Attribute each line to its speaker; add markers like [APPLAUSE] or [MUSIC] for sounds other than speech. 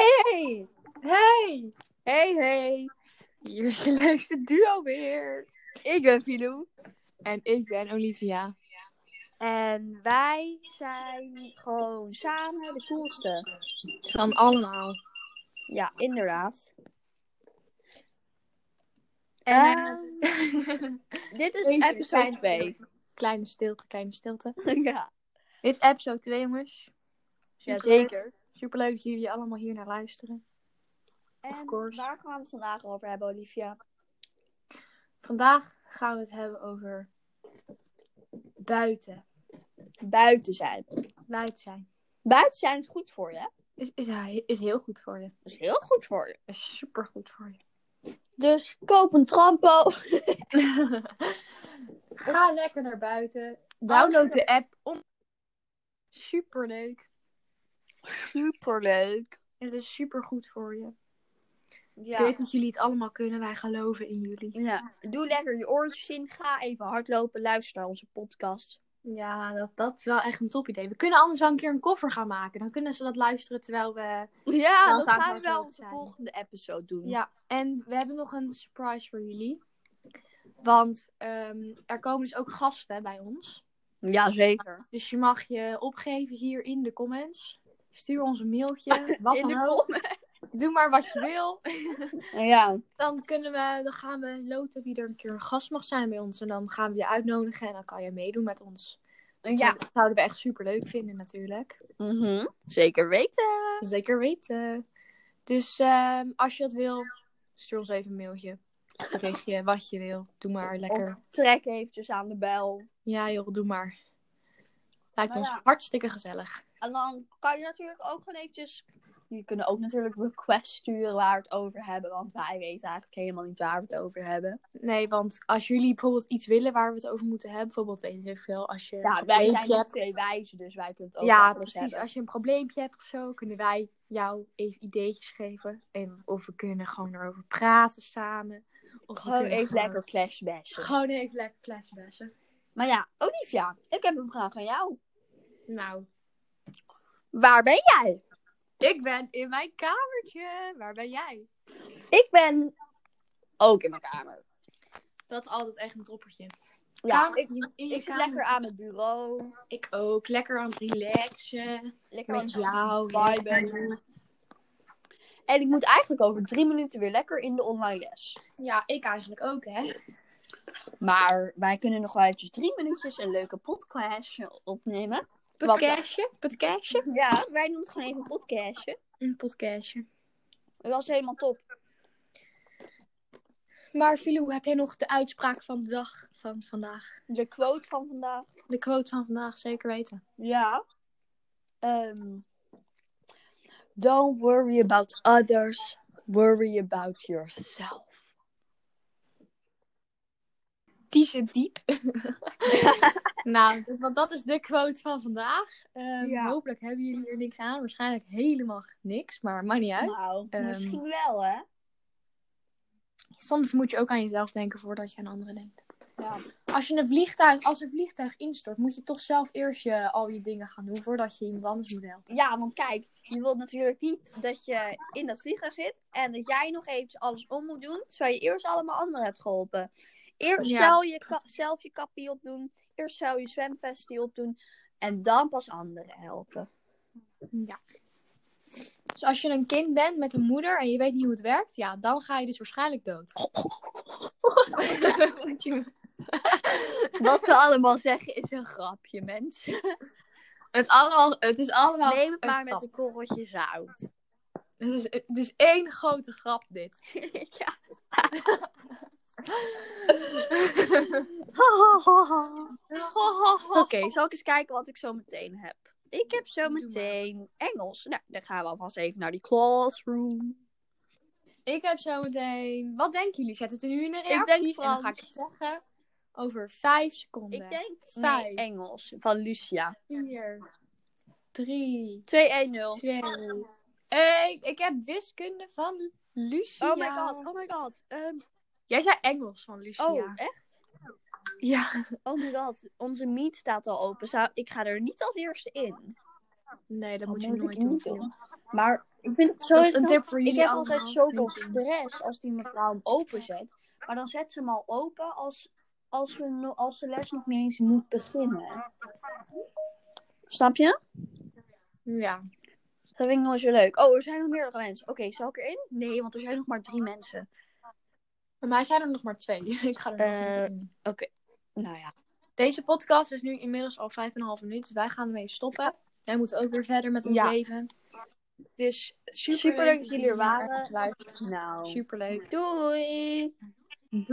Speaker 1: Hey, hey, hey, hey. Hier is je leukste duo weer.
Speaker 2: Ik ben Filou.
Speaker 1: En ik ben Olivia.
Speaker 2: En wij zijn gewoon samen de coolste.
Speaker 1: Van allemaal.
Speaker 2: Ja, inderdaad.
Speaker 1: En, [LAUGHS] eh,
Speaker 2: dit is
Speaker 1: even
Speaker 2: episode
Speaker 1: kleine
Speaker 2: 2.
Speaker 1: stilte. Kleine stilte, kleine stilte.
Speaker 2: [LAUGHS] ja,
Speaker 1: Dit is episode 2, jongens.
Speaker 2: ja,
Speaker 1: Superleuk.
Speaker 2: zeker.
Speaker 1: Superleuk dat jullie allemaal hier naar luisteren. Of
Speaker 2: En
Speaker 1: course.
Speaker 2: waar gaan we het vandaag over hebben, Olivia?
Speaker 1: Vandaag gaan we het hebben over buiten.
Speaker 2: Buiten zijn.
Speaker 1: Buiten zijn.
Speaker 2: Buiten zijn is goed voor je. hè?
Speaker 1: Is, is, is heel goed voor je.
Speaker 2: Dat is heel goed voor je.
Speaker 1: Is super goed voor je. [LAUGHS]
Speaker 2: Dus koop een trampo. [LAUGHS]
Speaker 1: Ga lekker naar buiten. Download de app. Om... Superleuk.
Speaker 2: Superleuk.
Speaker 1: En het is super goed voor je. Ik
Speaker 2: Ja.
Speaker 1: weet dat jullie het allemaal kunnen. Wij geloven in jullie.
Speaker 2: ja. Doe lekker je oortjes in. Ga even hardlopen. Luister naar onze podcast.
Speaker 1: Ja, dat, dat is wel echt een top idee. We kunnen anders wel een keer een koffer gaan maken. Dan kunnen ze dat luisteren terwijl we...
Speaker 2: Ja,
Speaker 1: Dan
Speaker 2: dat
Speaker 1: gaan we
Speaker 2: gaan we wel
Speaker 1: hardlopen
Speaker 2: onze
Speaker 1: zijn.
Speaker 2: volgende episode doen.
Speaker 1: Ja, en we hebben nog een surprise voor jullie. Want ehm, er komen dus ook gasten bij ons.
Speaker 2: Ja, zeker.
Speaker 1: Dus je mag je opgeven hier in de comments. Stuur ons een [LAUGHS] mailtje. Wat
Speaker 2: In de
Speaker 1: dan ook. Doe maar wat je wil.
Speaker 2: Ja.
Speaker 1: Dan, kunnen we, dan gaan we loten wie er een keer een gast mag zijn bij ons. En dan gaan we je uitnodigen en dan kan je meedoen met ons. Dat
Speaker 2: Ja.
Speaker 1: zou- zouden we echt super leuk vinden natuurlijk.
Speaker 2: Mhm. Zeker weten.
Speaker 1: Zeker weten. Dus ehm, als je dat wil, stuur ons even een mailtje. Berichtje, wat je wil. Doe maar lekker.
Speaker 2: Of trek eventjes aan de bel.
Speaker 1: Ja joh, doe maar. Lijkt
Speaker 2: Maar
Speaker 1: ons
Speaker 2: Nou ja.
Speaker 1: hartstikke gezellig.
Speaker 2: En dan kan je natuurlijk ook gewoon eventjes... Je kunnen ook natuurlijk requests sturen waar we het over hebben. Want wij weten eigenlijk helemaal niet waar we het over hebben.
Speaker 1: Nee, want als jullie bijvoorbeeld iets willen waar we het over moeten hebben. Bijvoorbeeld, weet ik veel, als je
Speaker 2: Ja,
Speaker 1: een
Speaker 2: wij
Speaker 1: probleempje
Speaker 2: zijn niet
Speaker 1: hebt.
Speaker 2: twee wijzen, dus wij kunnen het ook
Speaker 1: Ja,
Speaker 2: anders
Speaker 1: precies.
Speaker 2: hebben.
Speaker 1: Als je een probleempje hebt of zo, kunnen wij jou even ideetjes geven. En, of we kunnen gewoon erover praten samen. Of we
Speaker 2: Gewoon
Speaker 1: kunnen
Speaker 2: even
Speaker 1: gewoon-
Speaker 2: lekker flashbashen.
Speaker 1: Gewoon even lekker flashbassen.
Speaker 2: Maar ja, Olivia, ik heb een vraag aan jou.
Speaker 1: Nou,
Speaker 2: Waar ben jij?
Speaker 1: ik ben in mijn kamertje. Waar ben jij?
Speaker 2: Ik ben ook in mijn kamer.
Speaker 1: Dat is altijd echt een toppertje.
Speaker 2: Ja,
Speaker 1: Kamer-
Speaker 2: ik,
Speaker 1: in- in je
Speaker 2: ik zit
Speaker 1: kamer.
Speaker 2: lekker aan het bureau.
Speaker 1: Ik ook. Lekker aan het relaxen.
Speaker 2: Lekker aan
Speaker 1: Met
Speaker 2: het
Speaker 1: jou.
Speaker 2: viben.
Speaker 1: lekker.
Speaker 2: En ik moet eigenlijk over drie minuten weer lekker in de online les.
Speaker 1: Ja, ik eigenlijk ook, hè.
Speaker 2: Maar wij kunnen nog wel eventjes drie minuutjes een leuke podcastje opnemen.
Speaker 1: Podcastje. Podcastje.
Speaker 2: Ja, wij noemen het gewoon even een podcastje.
Speaker 1: Een podcastje.
Speaker 2: Dat was helemaal top.
Speaker 1: Maar Filou, heb jij nog de uitspraak van de dag van vandaag?
Speaker 2: De quote van vandaag.
Speaker 1: De quote van vandaag, zeker weten.
Speaker 2: Ja. Ehm, don't worry about others. Worry about yourself.
Speaker 1: Die zit diep. nou, dat- want dat is de quote van vandaag. Ehm,
Speaker 2: Ja.
Speaker 1: Hopelijk hebben jullie er niks aan. Waarschijnlijk helemaal niks, maar maakt niet uit.
Speaker 2: Nou,
Speaker 1: Ehm,
Speaker 2: misschien wel, hè?
Speaker 1: Soms moet je ook aan jezelf denken voordat je aan anderen denkt.
Speaker 2: Ja.
Speaker 1: Als, je een vliegtuig, als een vliegtuig instort, moet je toch zelf eerst je, al je dingen gaan doen voordat je iemand anders moet helpen.
Speaker 2: Ja, want kijk, je wilt natuurlijk niet dat je in dat vliegtuig zit en dat jij nog eventjes alles om moet doen, terwijl je eerst allemaal anderen hebt geholpen. Eerst
Speaker 1: Ja.
Speaker 2: zou je ka- zelf je kappie opdoen, eerst zou je zwemvestie opdoen en dan pas anderen helpen.
Speaker 1: Ja. Dus als je een kind bent met een moeder en je weet niet hoe het werkt, ja, dan ga je dus
Speaker 2: [LAUGHS]
Speaker 1: waarschijnlijk dood. Moet je
Speaker 2: [LAUGHS] Wat we allemaal zeggen is een grapje, mensen.
Speaker 1: Het, allemaal, het is allemaal.
Speaker 2: Neem het maar
Speaker 1: een
Speaker 2: met
Speaker 1: grap.
Speaker 2: een korreltje zout.
Speaker 1: Het is, het is één grote grap, dit.
Speaker 2: [LAUGHS] ja.
Speaker 1: [LAUGHS]
Speaker 2: Oké, zal ik eens kijken wat ik zo meteen heb? Ik heb zo
Speaker 1: Doe maar.
Speaker 2: meteen Engels. Nou, dan gaan we alvast even naar die classroom.
Speaker 1: ik heb zo meteen. Wat denken jullie? Zet het er nu in de
Speaker 2: denk
Speaker 1: reacties en dan
Speaker 2: Frans.
Speaker 1: ga ik het zeggen. Over vijf seconden.
Speaker 2: Ik denk
Speaker 1: Vijf.
Speaker 2: nee, Engels van Lucia.
Speaker 1: Vier, drie,
Speaker 2: 2-1-0.
Speaker 1: twee,
Speaker 2: Oh.
Speaker 1: één. Ik heb wiskunde van Lucia.
Speaker 2: Oh my god, oh my god. Ehm,
Speaker 1: Jij zei Engels van Lucia.
Speaker 2: oh, echt?
Speaker 1: Ja.
Speaker 2: Oh my god, onze meet staat al open. Zou, ik ga er niet als eerste in.
Speaker 1: Nee, dat
Speaker 2: Dat
Speaker 1: moet je
Speaker 2: Oh, moet ik
Speaker 1: nooit doen.
Speaker 2: niet
Speaker 1: Phil.
Speaker 2: doen. Maar Ik vind het zo
Speaker 1: Dat is een
Speaker 2: irritant.
Speaker 1: tip voor
Speaker 2: Ik
Speaker 1: jullie
Speaker 2: heb altijd
Speaker 1: allemaal.
Speaker 2: zoveel stress als die mevrouw hem openzet. Maar dan zet ze hem al open als, als, we, no- als de les nog niet eens moet beginnen. Snap je?
Speaker 1: Ja.
Speaker 2: Dat vind ik nooit zo leuk. Oh, er zijn nog meerdere mensen. Oké, zal ik erin? Nee, want er zijn nog maar drie mensen.
Speaker 1: Maar hij zijn er nog maar twee. [LAUGHS] ik ga er nog
Speaker 2: Eh.
Speaker 1: niet in.
Speaker 2: Nou ja.
Speaker 1: Deze podcast is nu inmiddels al 5,5 minuten. Dus wij gaan ermee stoppen. Wij moeten ook weer verder met ons
Speaker 2: Ja.
Speaker 1: leven. Dus super,
Speaker 2: Superleuk dat jullie er waren.
Speaker 1: Luister,
Speaker 2: Nou.
Speaker 1: super leuk.
Speaker 2: Doei!